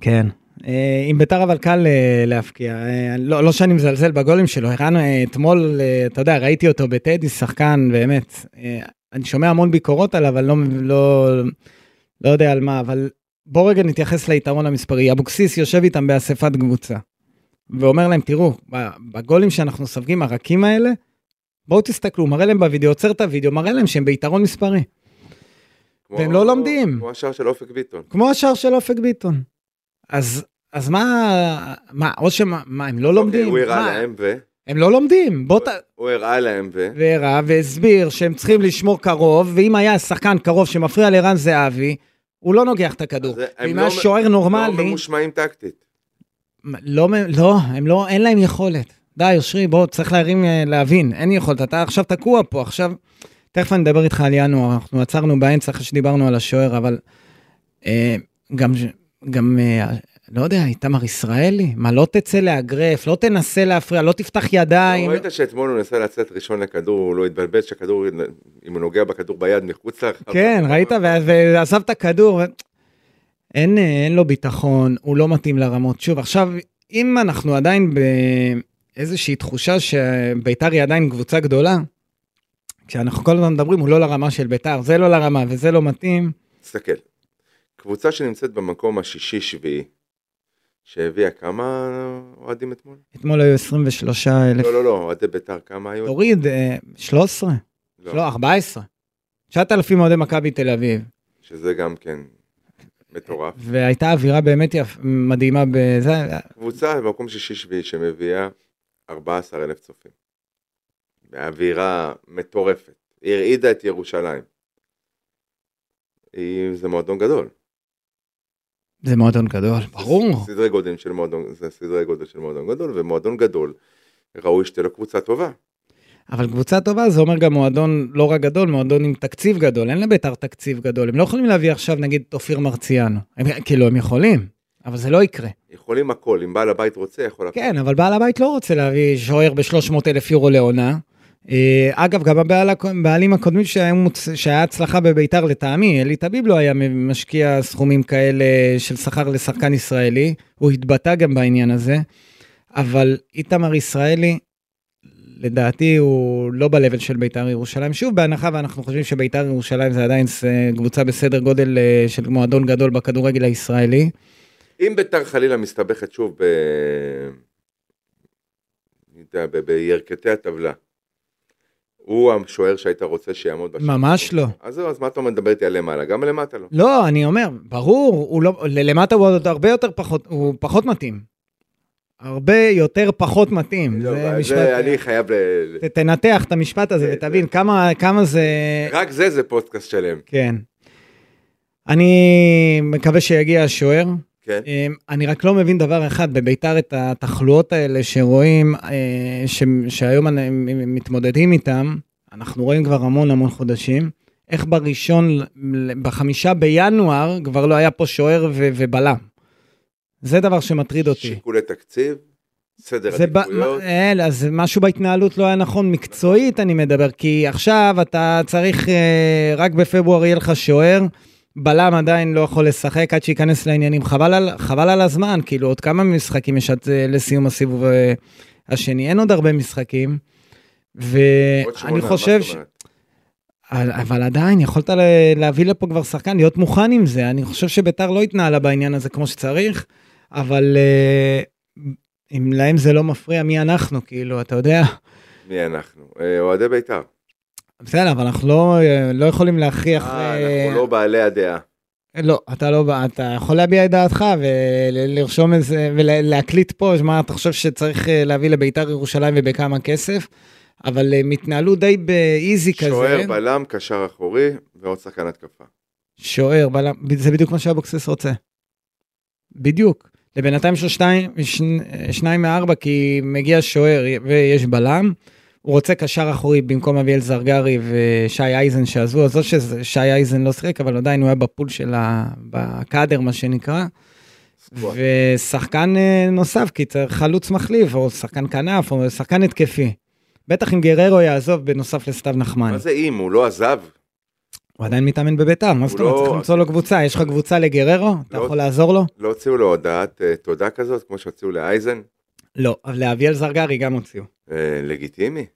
B: כן. אה, עם ביתר אבל קל אה, להפקיע, אה, לא, לא שאני מזלזל בגולים שלו, ערן אה, אתמול, אה, אתה יודע, ראיתי אותו בטדי, שחקן באמת, אה, אני שומע המון ביקורות עליו, אבל לא, לא, לא יודע על מה, אבל בואו רגע נתייחס ליתרון המספרי. אבוקסיס יושב איתם באספת קבוצה, ואומר להם, תראו, ב- בגולים שאנחנו סופגים, הרכים האלה, בואו תסתכלו, מראה להם בווידאו, עוצר את הווידאו, מראה להם שהם ביתרון מספרי,
C: כמו-
B: והם לא לומדים. לא
C: כמו השער של אופק ביטון. אוקיי,
B: כמו השער של אופק ביטון. אז... אז מה, מה, או שמה, מה, הם לא לומדים?
C: אוקיי, הוא הראה
B: מה?
C: להם ו...
B: הם לא לומדים, בוא ת...
C: הוא הראה להם ו...
B: והראה והסביר שהם צריכים לשמור קרוב, ואם היה שחקן קרוב שמפריע לרן זהבי, הוא לא נוגח את הכדור.
C: אז הם
B: ואם
C: לא
B: היה
C: מ-
B: שוער
C: לא
B: נורמלי,
C: ממושמעים טקטית.
B: מה, לא, מ- לא, הם לא, אין להם יכולת. די, אושרי, בוא, צריך להרים, אה, להבין, אין יכולת, אתה עכשיו תקוע פה, עכשיו, תכף אני אדבר איתך על ינואר, אנחנו עצרנו באמצע אחרי שדיברנו על השוער, אבל אה, גם, גם, אה, לא יודע, איתמר ישראלי, מה, לא תצא לאגרף, לא תנסה להפריע, לא תפתח ידיים.
C: לא ראית שאתמול הוא ניסה לצאת ראשון לכדור, הוא לא התבלבל, שהכדור, אם הוא נוגע בכדור ביד מחוץ לרחבה.
B: כן, ראית? ו- ועזב את הכדור. ו- אין, אה, אין לו ביטחון, הוא לא מתאים לרמות. שוב, עכשיו, אם אנחנו עדיין באיזושהי תחושה שביתר היא עדיין קבוצה גדולה, כשאנחנו כל הזמן מדברים, הוא לא לרמה של ביתר, זה לא לרמה וזה לא מתאים.
C: תסתכל. קבוצה שנמצאת במקום השישי-שביעי, שהביאה כמה אוהדים אתמול?
B: אתמול היו 23 אלף.
C: לא, לא, לא, אוהדי בית"ר, כמה היו?
B: תוריד, אה, 13? לא, 14. 9,000 אוהדי מכבי תל אביב.
C: שזה גם כן מטורף.
B: והייתה אווירה באמת יפ... מדהימה בזה,
C: קבוצה במקום שישי-שביעי שמביאה 14,000 צופים. באווירה מטורפת. היא הרעידה את ירושלים. היא, זה מועדון גדול.
B: זה מועדון גדול, ברור.
C: סדרי גודל של מועדון, זה סדרי גודל של מועדון גדול, ומועדון גדול, ראוי שתהיה לו קבוצה טובה.
B: אבל קבוצה טובה זה אומר גם מועדון לא רק גדול, מועדון עם תקציב גדול, אין לביתר תקציב גדול, הם לא יכולים להביא עכשיו נגיד את אופיר מרציאנו, הם, כאילו הם יכולים, אבל זה לא יקרה.
C: יכולים הכל, אם בעל הבית רוצה, יכול הכל.
B: כן, אבל בעל הבית לא רוצה להביא שוער ב-300 אלף יורו לעונה. אה, אגב, גם הבעל- הבעלים הקודמים שהיה, מוצ... שהיה הצלחה בביתר לטעמי, אלי טביב לא היה משקיע סכומים כאלה של שכר לשחקן ישראלי, הוא התבטא גם בעניין הזה, אבל איתמר ישראלי, לדעתי הוא לא ב-level של ביתר ירושלים. שוב, בהנחה ואנחנו חושבים שביתר ירושלים זה עדיין אה, קבוצה בסדר גודל אה, של מועדון גדול בכדורגל הישראלי.
C: אם ביתר חלילה מסתבכת שוב ב... אני יודע, ב- בירכתי הטבלה, הוא השוער שהיית רוצה שיעמוד בשער.
B: ממש לא.
C: אז זהו, אז מה אתה מדבר איתי על למעלה? גם למטה לא.
B: לא, אני אומר, ברור, הוא לא, למטה הוא עוד הרבה יותר פחות, הוא פחות מתאים. הרבה יותר פחות מתאים.
C: לא,
B: זה
C: אבל
B: משפט-
C: זה אני חייב ל... ל-
B: ת- תנתח את המשפט הזה
C: זה-
B: ותבין
C: זה-
B: כמה, כמה זה...
C: רק זה זה פודקאסט שלם.
B: כן. אני מקווה שיגיע השוער.
C: כן.
B: אמ, אני רק לא מבין דבר אחד, בביתר את התחלואות האלה שרואים, אה, ש- שהיום אנ- הם- הם מתמודדים איתם, אנחנו רואים כבר המון המון חודשים. איך בראשון, ל- בחמישה בינואר, כבר לא היה פה שוער ו- ובלם. זה דבר שמטריד אותי.
C: שיקולי תקציב, סדר
B: זה ב-
C: עדיפויות.
B: מה- אל, אז משהו בהתנהלות לא היה נכון, מקצועית אני מדבר, כי עכשיו אתה צריך, אה, רק בפברואר יהיה לך שוער, בלם עדיין לא יכול לשחק עד שייכנס לעניינים, חבל על, חבל על הזמן, כאילו עוד כמה משחקים יש עד אה, לסיום הסיבוב אה, השני, אין עוד הרבה משחקים,
C: עוד שמונה,
B: ואני
C: מה
B: חושב,
C: זאת
B: ש...
C: אומרת?
B: אבל- אבל עדיין יכולת ל- להביא לפה כבר שחקן, להיות מוכן עם זה. אני חושב שביתר לא התנהלה בעניין הזה כמו שצריך, אבל אה, אם להם זה לא מפריע, מי אנחנו, כאילו, אתה יודע.
C: מי אנחנו? אה, אוהדי בית"ר.
B: בסדר, אבל אנחנו לא, אה, לא יכולים להכריח...
C: אה,
B: אה,
C: אנחנו לא בעלי הדעה.
B: לא, אתה לא, בא- אתה יכול להביע את דעתך ולרשום את זה ולהקליט פה, מה אתה חושב שצריך אה, להביא לביתר ירושלים ובכמה כסף, אבל אה, הם התנהלו די באיזי כזה.
C: שוער, בלם, קשר אחורי ועוד שחקן התקפה.
B: שוער, בלם, זה בדיוק מה שאבוקסיס רוצה. בדיוק. לבינתיים יש לו שתיים, שני- שניים מארבע, כי מגיע שוער ויש בלם. הוא רוצה קשר אחורי במקום אביאל זרגרי ושי אייזן שעזבו, אז לא ששי אייזן לא שיחק, אבל עדיין הוא היה בפול של ה... בקאדר, מה שנקרא.
C: סקוואט.
B: ושחקן אה, נוסף, כי צריך חלוץ מחליף, או שחקן כנף, או שחקן התקפי. בטח אם גררו יעזוב בנוסף לסתיו נחמן.
C: מה זה אם? הוא לא עזב?
B: הוא עדיין מתאמן בביתר, מה זאת
C: הוא
B: אומרת?
C: לא-
B: צריך למצוא לו קבוצה, יש לך קבוצה לגררו? אתה
C: לא-
B: יכול לעזור לו?
C: לא הוציאו לו הודעת אה, תודה כזאת כמו שהוציאו לאייזן?
B: לא, אבל לאביאל זרגרי גם הוציאו.
C: אה, לגיטימי.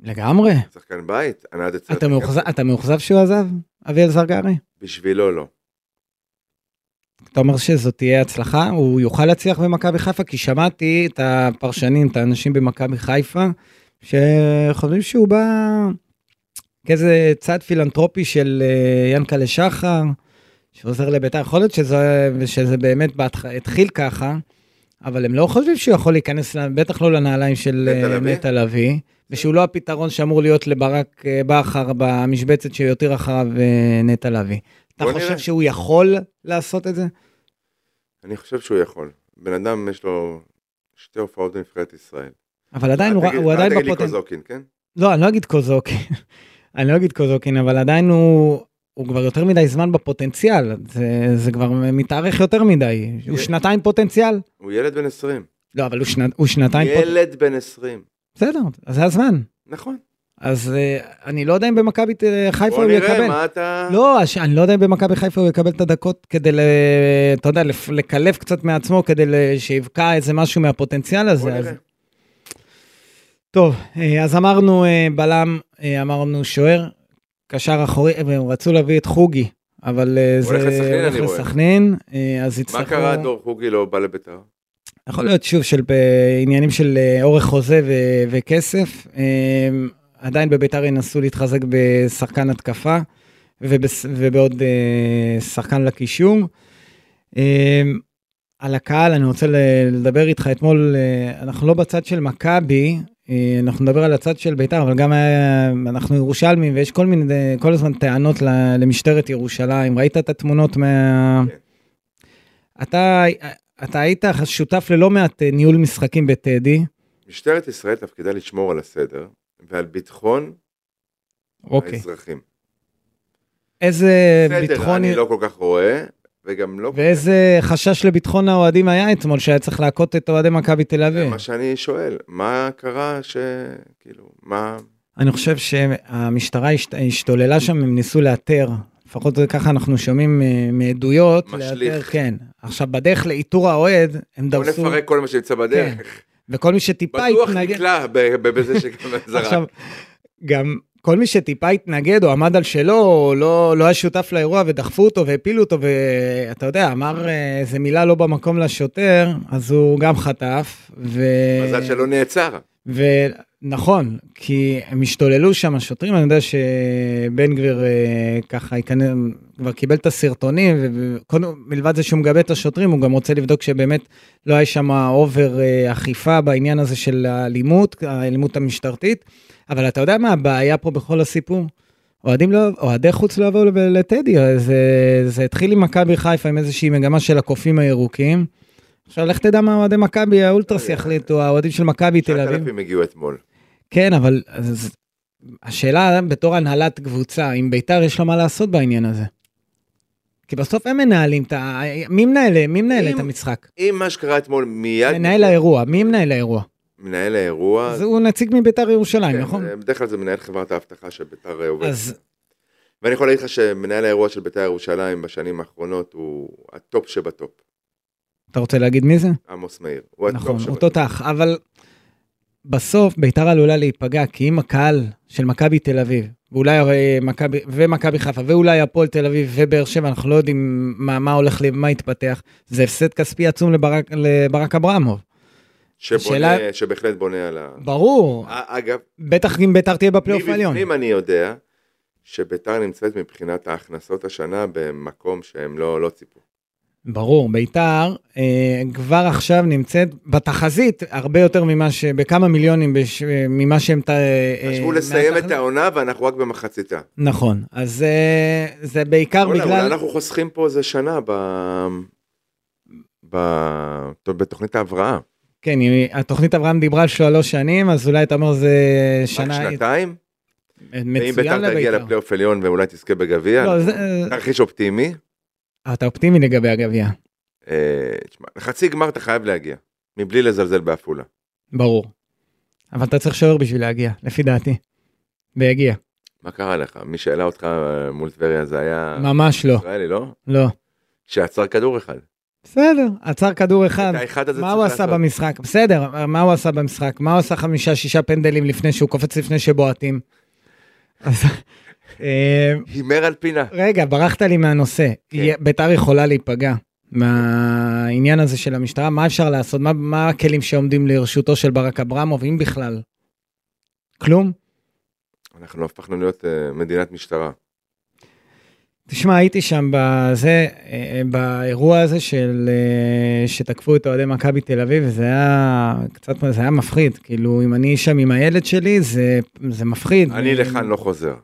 B: לגמרי.
C: שחקן בית. ענד אצל
B: אתה
C: התקפה.
B: מאוכזב- אתה מאוכזב שהוא עזב, אביאל זרגרי?
C: בשבילו לא.
B: אתה אומר שזאת תהיה הצלחה? הוא יוכל להצליח במכבי חיפה? כי שמעתי את הפרשנים, את האנשים במכבי חיפה, שחושבים שהוא בא כאיזה צעד פילנטרופי של אה, ינקלה שחר, שעוזר לביתר. יכול להיות שזה, שזה באמת בהתח... התחיל ככה, אבל הם לא חושבים שהוא יכול להיכנס, ל- בטח לא לנעליים של
C: נטע
B: אה,
C: לביא?
B: נטע לביא, ושהוא לא הפתרון שאמור להיות לברק אה, בכר במשבצת שיותיר אחריו אה, נטע לביא. אתה
C: בוא
B: חושב
C: נראה.
B: שהוא יכול לעשות את זה?
C: אני חושב שהוא יכול. בן אדם יש לו שתי הופעות בנבחרת ישראל.
B: אבל עדיין
C: אל
B: הוא,
C: תגיד-
B: הוא
C: אל
B: עדיין
C: תגיד לי
B: בפוטנציאל.
C: קוזוקין, כן?
B: לא, אני לא אגיד קוזוקין. אני לא אגיד קוזוקין, אבל עדיין הוא, הוא כבר יותר מדי זמן בפוטנציאל. זה, זה כבר מתארך יותר מדי. הוא
C: י-
B: שנתיים פוטנציאל?
C: הוא ילד בן 20.
B: לא, אבל הוא, שנת, הוא שנתיים פוטנציאל.
C: ילד בן 20.
B: בסדר, אז זה הזמן.
C: נכון.
B: אז אה, אני לא יודע אם במכבי אה, חיפה
C: בוא
B: הוא
C: נראה
B: יקבל.
C: מה אתה...
B: לא, הש- אני לא יודע אם במכבי חיפה הוא יקבל את הדקות כדי, ל- אתה יודע, לפ- לקלף קצת מעצמו, כדי ל- שיבקע איזה משהו מהפוטנציאל הזה.
C: בוא
B: אז-
C: נראה.
B: טוב, אה, אז אמרנו אה, בלם, אה, אמרנו שוער, קשר אחורי, אה, הם רצו להביא את חוגי, אבל אה, זה
C: הולך לסכנין,
B: הולך
C: אני רואה.
B: לסכנין, אה, אז יצטרכו...
C: מה קרה דור חוגי לא בא לביתר?
B: יכול להיות שוב של עניינים של אה, אורך חוזה ו- וכסף. אה, עדיין בביתר ינסו להתחזק בשחקן התקפה ובס- ובעוד אה, שחקן לקישור. אה, על הקהל, אני רוצה ל- לדבר איתך אתמול, אה, אנחנו לא בצד של מכבי, אה, אנחנו נדבר על הצד של ביתר, אבל גם אה, אנחנו ירושלמים ויש כל מיני, כל הזמן טענות ל- למשטרת ירושלים. ראית את התמונות מה...
C: כן.
B: אתה, אתה היית שותף ללא מעט אה, ניהול משחקים בטדי,
C: משטרת ישראל תפקידה לשמור על הסדר ועל ביטחון
B: אוקיי.
C: האזרחים.
B: איזה
C: בסדר,
B: ביטחון,
C: אני לא כל כך רואה, וגם לא...
B: ואיזה חשש לביטחון האוהדים היה אתמול, שהיה צריך להכות את אוהדי מכבי תל
C: זה
B: אביב.
C: מה שאני שואל, מה קרה ש... כאילו, מה...
B: אני חושב שהמשטרה השת- השתוללה שם, הם ניסו לאתר, לפחות זה ככה אנחנו שומעים אה, מעדויות.
C: משליך.
B: לאתר, כן. עכשיו, בדרך לאיתור האוהד, הם
C: בוא
B: דרסו,
C: נפרק כל מה שנמצא בדרך.
B: וכל מי שטיפה
C: בטוח
B: כן, התנגד...
C: נקלע ב- ב- בזה שגם
B: עכשיו,
C: זרק.
B: גם כל מי שטיפה התנגד או עמד על שלו, או לא, לא היה שותף לאירוע ודחפו אותו והפילו אותו, ואתה יודע, אמר אה, איזה מילה לא במקום לשוטר, אז הוא גם חטף. ו...
C: מזל שלא נעצר.
B: ו... נכון, כי הם השתוללו שם השוטרים, אני יודע שבן גביר אה, ככה ייכנס, כבר קיבל את הסרטונים, וקודם, מלבד זה שהוא מגבה את השוטרים, הוא גם רוצה לבדוק שבאמת לא היה שם אובר אה, אכיפה בעניין הזה של האלימות, האלימות המשטרתית. אבל אתה יודע מה הבעיה פה בכל הסיפור? אוהדים לא, אוהדי חוץ לא יבואו לב- לטדי, זה, זה התחיל עם מכבי חיפה עם איזושהי מגמה של הקופים הירוקים. עכשיו לך תדע מה אוהדי מכבי, האולטרס יחליטו, האוהדים של מכבי תל אביב.
C: 9,000 הגיעו אתמול.
B: כן, אבל אז, השאלה בתור הנהלת קבוצה, אם ביתר יש לו מה לעשות בעניין הזה. כי בסוף הם מנהלים את ה... מי מנהל, מי מנהל
C: אם-
B: את המשחק?
C: אם מה שקרה אתמול מיד...
B: מנהל האירוע, מי מנהל האירוע?
C: מנהל האירוע.
B: אז הוא נציג מביתר ירושלים,
C: כן,
B: נכון?
C: בדרך כלל זה מנהל חברת האבטחה של ביתר עובד.
B: אז
C: ואני יכול להגיד לך שמנהל האירוע של ביתר ירושלים בשנים האחרונות הוא הטופ שבטופ,
B: אתה רוצה להגיד מי זה?
C: עמוס מאיר. הוא הטופ
B: נכון,
C: שבטופ.
B: הוא תותח, אבל בסוף ביתר עלולה להיפגע, כי אם הקהל של מכבי תל אביב, ואולי הרי מכבי, ומכבי חיפה, ואולי הפועל תל אביב ובאר שבע, אנחנו לא יודעים מה, מה הולך, ל- מה יתפתח, זה הפסד כספי עצום לברק, לברק אברמוב.
C: שבונה,
B: השאלה-
C: שבהחלט בונה על ה...
B: ברור,
C: א- אגב,
B: בטח אם ביתר תהיה בפלייאוף העליון.
C: מבפנים אני יודע שביתר נמצאת מבחינת ההכנסות השנה במקום שהם לא, לא ציפו.
B: ברור, ביתר אה, כבר עכשיו נמצאת בתחזית הרבה יותר ממה ש... בכמה מיליונים בש... אה, ממה שהם... ת- אה,
C: חשבו
B: אה,
C: לסיים את
B: מהתחזית.
C: העונה ואנחנו רק במחציתה.
B: נכון, אז אה, זה בעיקר
C: וואלה,
B: בגלל...
C: אולי אנחנו חוסכים פה איזה שנה ב... ב... טוב, בתוכנית ההבראה.
B: כן, היא- התוכנית אברהם דיברה על שלוש שנים, אז אולי אתה אומר זה
C: רק
B: שנה
C: שנתיים? ואם
B: מצוין
C: ביתר תגיע
B: לביתר.
C: לפלייאוף כן. עליון ואולי תזכה בגביע,
B: לא, זה-
C: תרחיש אופטימי,
B: אה, אתה אופטימי לגבי הגביע,
C: אה, תשמע, לחצי גמר אתה חייב להגיע, מבלי לזלזל בעפולה.
B: ברור. אבל אתה צריך שוער בשביל להגיע, לפי דעתי. ויגיע.
C: מה קרה לך? מי שהעלה אותך אה, מול טבריה זה היה...
B: ממש לא,
C: ישראלי, לא?
B: לא.
C: שעצר כדור אחד.
B: בסדר, עצר כדור אחד.
C: את האחד הזה
B: מה
C: צריך
B: הוא עשה
C: לעשות.
B: במשחק? בסדר, מה הוא עשה במשחק? מה הוא עשה חמישה, שישה פנדלים לפני שהוא קופץ לפני שבועטים? אז... אה,
C: הימר על פינה.
B: רגע, ברחת לי מהנושא.
C: כן.
B: יה- ביתר יכולה להיפגע מהעניין הזה של המשטרה, מה אפשר לעשות? מה- מה הכלים שעומדים לרשותו של ברק אברמוב, אם בכלל? כלום?
C: אנחנו הפכנו להיות אה, מדינת משטרה.
B: תשמע, הייתי שם בזה, אה, באירוע הזה של, אה, שתקפו את אוהדי מכבי תל אביב, וזה היה קצת, זה היה מפחיד. כאילו, אם אני שם עם הילד שלי, זה, זה מפחיד. אה,
C: אני לכאן לא חוזר.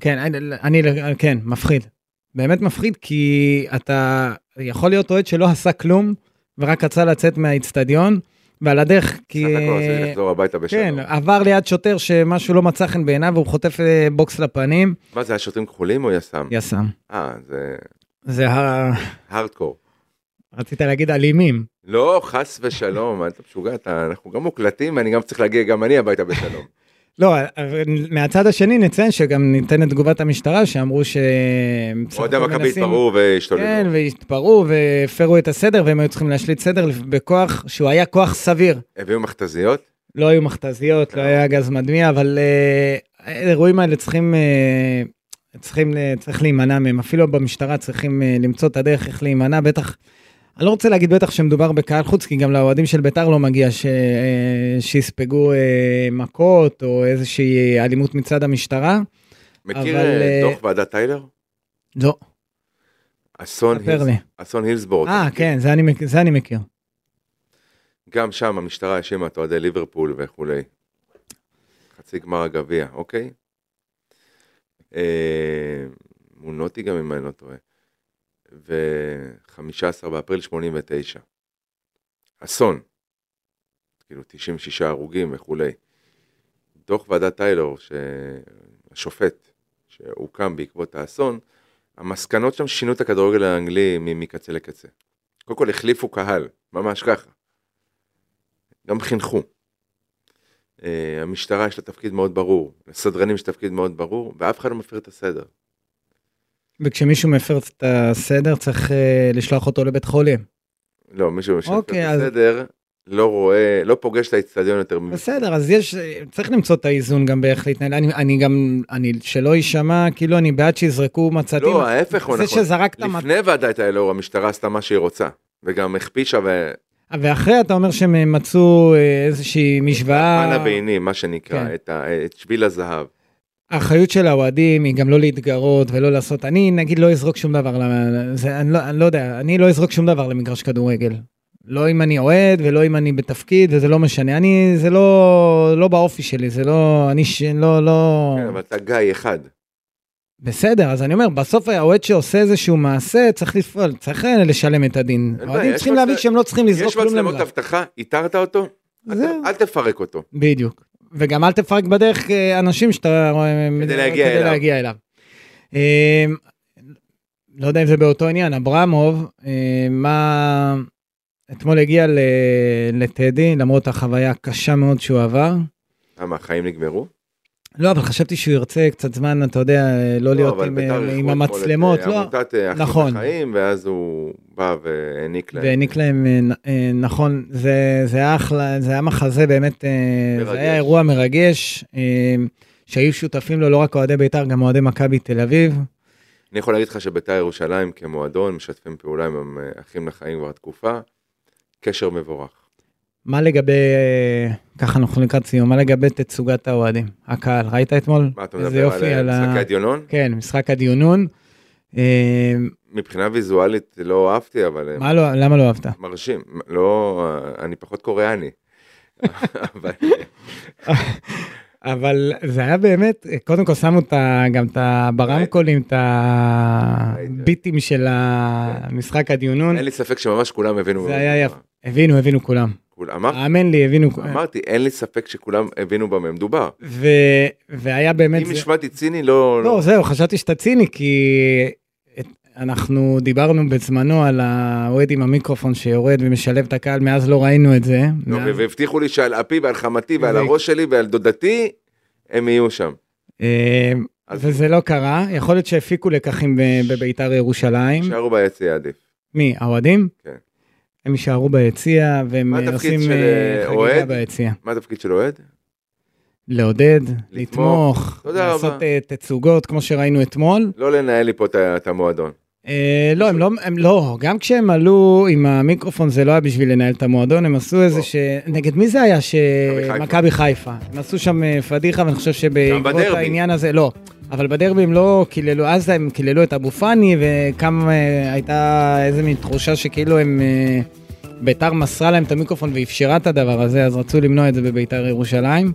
B: כן, אני, אני, כן, מפחיד. באמת מפחיד, כי אתה יכול להיות אוהד שלא עשה כלום, ורק רצה לצאת מהאיצטדיון, ועל הדרך, כי...
C: סך הכל רציתי לחזור הביתה
B: כן,
C: בשלום.
B: עבר ליד שוטר שמשהו לא מצא חן בעיניו, והוא חוטף אה, בוקס לפנים,
C: מה זה היה שוטרים כחולים או יס"מ?
B: יס"מ.
C: אה, זה
B: זה ה...
C: הארדקור.
B: רצית להגיד אלימים.
C: לא, חס ושלום, אתה משוגע, אתה- אנחנו גם מוקלטים, אני גם צריך להגיע גם אני הביתה בשלום.
B: לא, אבל מהצד השני נציין שגם ניתנת תגובת המשטרה, שאמרו ש...
C: אוהדי מכבי התפרעו
B: כן,
C: והשתוללו.
B: והתפרעו והפרו את הסדר, והם היו צריכים להשליט סדר בכוח שהוא היה כוח סביר.
C: הביאו מכתזיות?
B: לא היו מכתזיות, לא היה גז מדמיע, אבל אה, האירועים האלה צריכים, אה, צריכים, ל- צריך להימנע מהם. אפילו במשטרה צריכים אה, למצוא את הדרך איך להימנע, בטח, אני לא רוצה להגיד בטח שמדובר בקהל חוץ, כי גם לאוהדים של ביתר לא מגיע ש, אה, שיספגו אה, מכות או איזושהי אלימות מצד המשטרה.
C: מכיר
B: אבל,
C: אה,
B: אה,
C: דוח ועדת טיילר?
B: לא,
C: אסון
B: ספר
C: הילס-
B: לי.
C: אסון הילסבורג.
B: אה, כן, זה אני, מכ- זה אני מכיר.
C: גם שם המשטרה האשימה את אוהדי ליברפול וכולי. חצי גמר הגביע, אוקיי? אה, מול נוטיגם אם אני לא טועה. ו-15 באפריל 89. אסון. כאילו 96 הרוגים וכולי. דוח ועדת טיילור, שהשופט שהוקם בעקבות האסון, המסקנות שם שינו את הכדורגל האנגלי מ- מקצה לקצה. קודם כל החליפו קהל, ממש ככה. גם חינכו. אה, המשטרה יש לה תפקיד מאוד ברור, לסדרנים יש תפקיד מאוד ברור, ואף אחד לא מפר את הסדר.
B: וכשמישהו מפר את הסדר צריך אה, לשלוח אותו לבית חולים.
C: לא, מישהו שמפר
B: אוקיי,
C: את
B: אז-
C: הסדר, לא רואה, לא פוגש את האצטדיון יותר. מ-
B: בסדר, אז יש, צריך למצוא את האיזון גם באיך להתנהל. אני, אני גם, אני, שלא יישמע, כאילו אני בעד שיזרקו מצתים.
C: לא, ההפך הוא
B: זה
C: נכון.
B: שזרקת מצ...
C: לפני ועדת האלאור המשטרה עשתה מה שהיא רוצה, וגם הכפישה ו...
B: ואחרי אתה אומר שהם מצאו אה, איזושהי
C: פן
B: משוואה,
C: הבינוני, מה שנקרא,
B: אה. כן. אה.
C: את ה- את שביל הזהב.
B: האחריות של האוהדים היא גם לא להתגרות ולא לעשות, אני נגיד לא אזרוק שום דבר, ל- זה, אני, לא, אני לא יודע, אני לא אזרוק שום דבר למגרש כדורגל. לא אם אני אוהד ולא אם אני בתפקיד וזה לא משנה, אני, זה לא, לא באופי שלי, זה לא, אני ש... לא, לא...
C: כן, אבל אתה גיא אחד.
B: בסדר, אז אני אומר, בסוף האוהד שעושה איזהו מעשה, צריך לפעול, צריך אה, לשלם את הדין.
C: בעיה,
B: האוהדים
C: יש
B: צריכים
C: מצב-
B: להבין שהם לא צריכים לזרוק
C: יש
B: כלום
C: מצלמות
B: למגרש.
C: אבטחה, איתרת אותו? אל-
B: זהו.
C: אל תפרק אותו.
B: בדיוק. וגם אל תפרק בדרך אה, אנשים שאתה... אה,
C: כדי להגיע
B: כדי
C: אליו.
B: להגיע אליו. אה, לא יודע אם זה באותו עניין, אברמוב, אה, מה... אתמול הגיע ל... לטדי, למרות החוויה הקשה מאוד שהוא עבר.
C: למה, החיים נגמרו?
B: לא, אבל חשבתי שהוא ירצה קצת זמן, אתה יודע, לא להיות
C: אבל
B: עם,
C: בית"ר
B: עם,
C: אירחו אתמול את,
B: המצלמות,
C: אה,
B: לא.
C: עמותת אה, אחים
B: נכון.
C: לחיים, ואז הוא בא והעניק להם.
B: והעניק להם, אה, נ- אה, נכון, זה, זה היה אחלה, זה היה מחזה באמת, אה,
C: מרגש.
B: זה היה אירוע מרגש, אה, שהיו שותפים לו לא רק אוהדי בית"ר, גם אוהדי מכבי תל אביב.
C: אני יכול להגיד לך שבית"ר ירושלים כמועדון משתפים פעולה עם אה, אחים לחיים כבר תקופה. קשר מבורך.
B: מה לגבי, אה, ככה אנחנו לקראת סיום, מה לגבי תצוגת האוהדים, הקהל, ראית אתמול?
C: מה אתה
B: איזה
C: מדבר על
B: יופי,
C: אה,
B: על ה-
C: משחקי הדיונון?
B: כן, משחק הדיונון. אה,
C: מבחינה ויזואלית לא אהבתי, אבל אה,
B: מה לא, למה לא אהבת?
C: מרשים. לא, אה, אני פחות קוריאני. אבל אה,
B: אבל זה היה באמת, קודם כל שמו את ה- גם את ה- ברמקולים, את הביטים של
C: כן.
B: המשחק הדיונון.
C: אין לי ספק שממש כולם הבינו.
B: זה
C: במה
B: היה אה,
C: מדובר.
B: יפה. הבינו, הבינו כולם.
C: כול- אמרתי,
B: האמן לי, הבינו כולם.
C: אמרתי, אין לי ספק שכולם הבינו במה מדובר.
B: ו- והיה באמת...
C: אם
B: זה-
C: נשמעתי ציני, לא...
B: לא, זהו, חשבתי שאתה ציני, כי את- אנחנו דיברנו בזמנו על האוהד עם המיקרופון שיורד ומשלב את הקהל, מאז לא ראינו את זה.
C: לא,
B: מאז-
C: ו- והבטיחו לי שעל אפי ועל חמתי ועל
B: זה-
C: הראש שלי ועל דודתי, הם יהיו שם.
B: אה,
C: אז-
B: וזה לא קרה, יכול להיות שהפיקו לקחים ב- בביתר ירושלים.
C: יישארו ביציע עדיף.
B: מי, האוהדים?
C: כן.
B: הם יישארו ביציע, והם
C: מה
B: אה,
C: התפקיד
B: עושים
C: של,
B: אה,
C: אה,
B: חגיגה
C: אוהד?
B: ביציע.
C: מה התפקיד של אוהד?
B: לעודד,
C: לתמוך.
B: לתמוך,
C: תודה
B: לעשות
C: רבה.
B: אה, תצוגות כמו שראינו אתמול.
C: לא לנהל לי פה את ה- את המועדון.
B: אה, לא, הם לא, הם לא, גם כשהם עלו עם המיקרופון זה לא היה בשביל לנהל את המועדון, הם עשו איזה ש... נגד מי זה היה? ש...
C: לא. חיפה.
B: מכבי חיפה. הם עשו שם אה, פדיחה, ואני חושב
C: גם
B: שבעקבות
C: בדרבי.
B: העניין הזה, לא. אבל בדרבי הם לא קיללו, אז הם קיללו את אבו פאני, וכמה אה, הייתה איזה מין תחושה שכאילו הם... אה, ביתר מסרה להם את המיקרופון ואפשרה את הדבר הזה, אז רצו למנוע את זה בביתר ירושלים.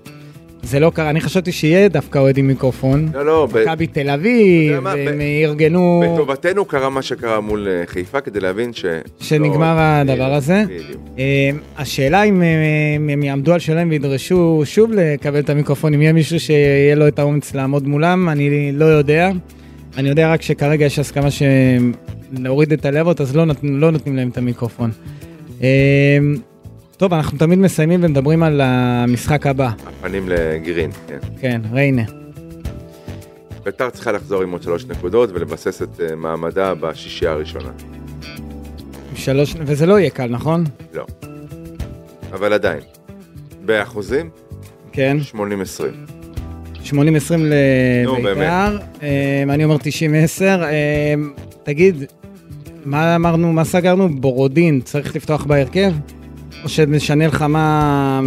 B: זה לא קרה, אני חשבתי שיהיה דווקא אוהד עם מיקרופון.
C: לא, לא, ב-
B: מכבי תל אביב,
C: יודע מה, ב-
B: הם ארגנו...
C: בטובתנו קרה מה שקרה מול אה, חיפה כדי להבין ש...
B: שנגמר
C: לא,
B: הדבר
C: בדיוק,
B: הזה.
C: בדיוק.
B: אה, השאלה אם אה, אם הם יעמדו על שלהם וידרשו שוב לקבל את המיקרופון, אם יהיה מישהו שיהיה לו את האומץ לעמוד מולם, אני לא יודע. אני יודע רק שכרגע יש הסכמה שלהוריד את הלבות, אז לא, נת... לא נותנים להם את המיקרופון. אה, טוב, אנחנו תמיד מסיימים ומדברים על המשחק הבא.
C: הפנים לגירין, כן.
B: כן, ריינה.
C: ביתר צריכה לחזור עם עוד שלוש נקודות ולבסס את אה, מעמדה בשישייה הראשונה.
B: שלוש, וזה לא יהיה קל, נכון?
C: לא. אבל עדיין. באחוזים,
B: כן.
C: 80-20.
B: 80-20
C: נו,
B: לביתר,
C: באמת.
B: אמ, אני אומר 90-10. אמ, תגיד, מה אמרנו, מה סגרנו? בורודין צריך לפתוח בהרכב? או שמשנה לך מה...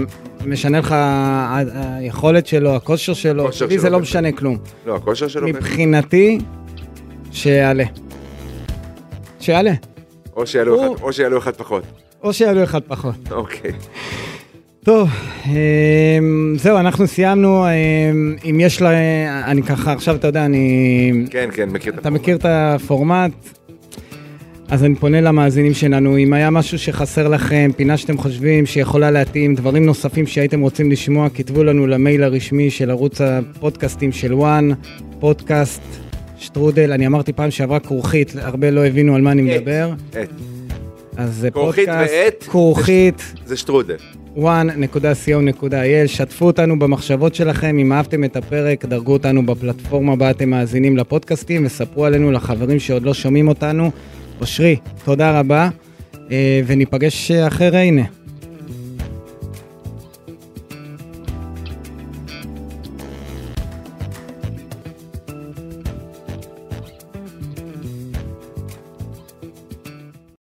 B: משנה לך ה- היכולת שלו, הכושר שלו?
C: הכושר
B: לי זה
C: שלו,
B: לא
C: בטח.
B: משנה כלום.
C: לא, הכושר שלו...
B: מבחינתי, שיעלה. שיעלה.
C: או שיעלו
B: הוא-
C: אחד- או שיעלו אחד פחות.
B: או שיעלו אחד פחות.
C: אוקיי.
B: טוב, אמ, זהו, אנחנו סיימנו. אמ, אם יש לה... אני ככה, עכשיו אתה יודע, אני
C: כן, כן, מכיר את
B: אתה
C: הפורמט.
B: מכיר את הפורמט? אז אני פונה למאזינים שלנו, אם היה משהו שחסר לכם, פינה שאתם חושבים שיכולה להתאים, דברים נוספים שהייתם רוצים לשמוע, כתבו לנו למייל הרשמי של ערוץ הפודקאסטים של וואן, פודקאסט שטרודל, אני אמרתי פעם שעברה כורכית, הרבה לא הבינו על מה אני
C: עט,
B: מדבר,
C: עט.
B: אז זה
C: כורכית
B: פודקאסט,
C: ועט.
B: כורכית,
C: זה שטרודל.
B: one.co.il, שתפו אותנו במחשבות שלכם, אם אהבתם את הפרק, דרגו אותנו בפלטפורמה בה אתם מאזינים לפודקאסטים וספרו עלינו לחברים שעוד לא שומעים אותנו. אושרי, תודה רבה, אה, וניפגש אחרי הנה.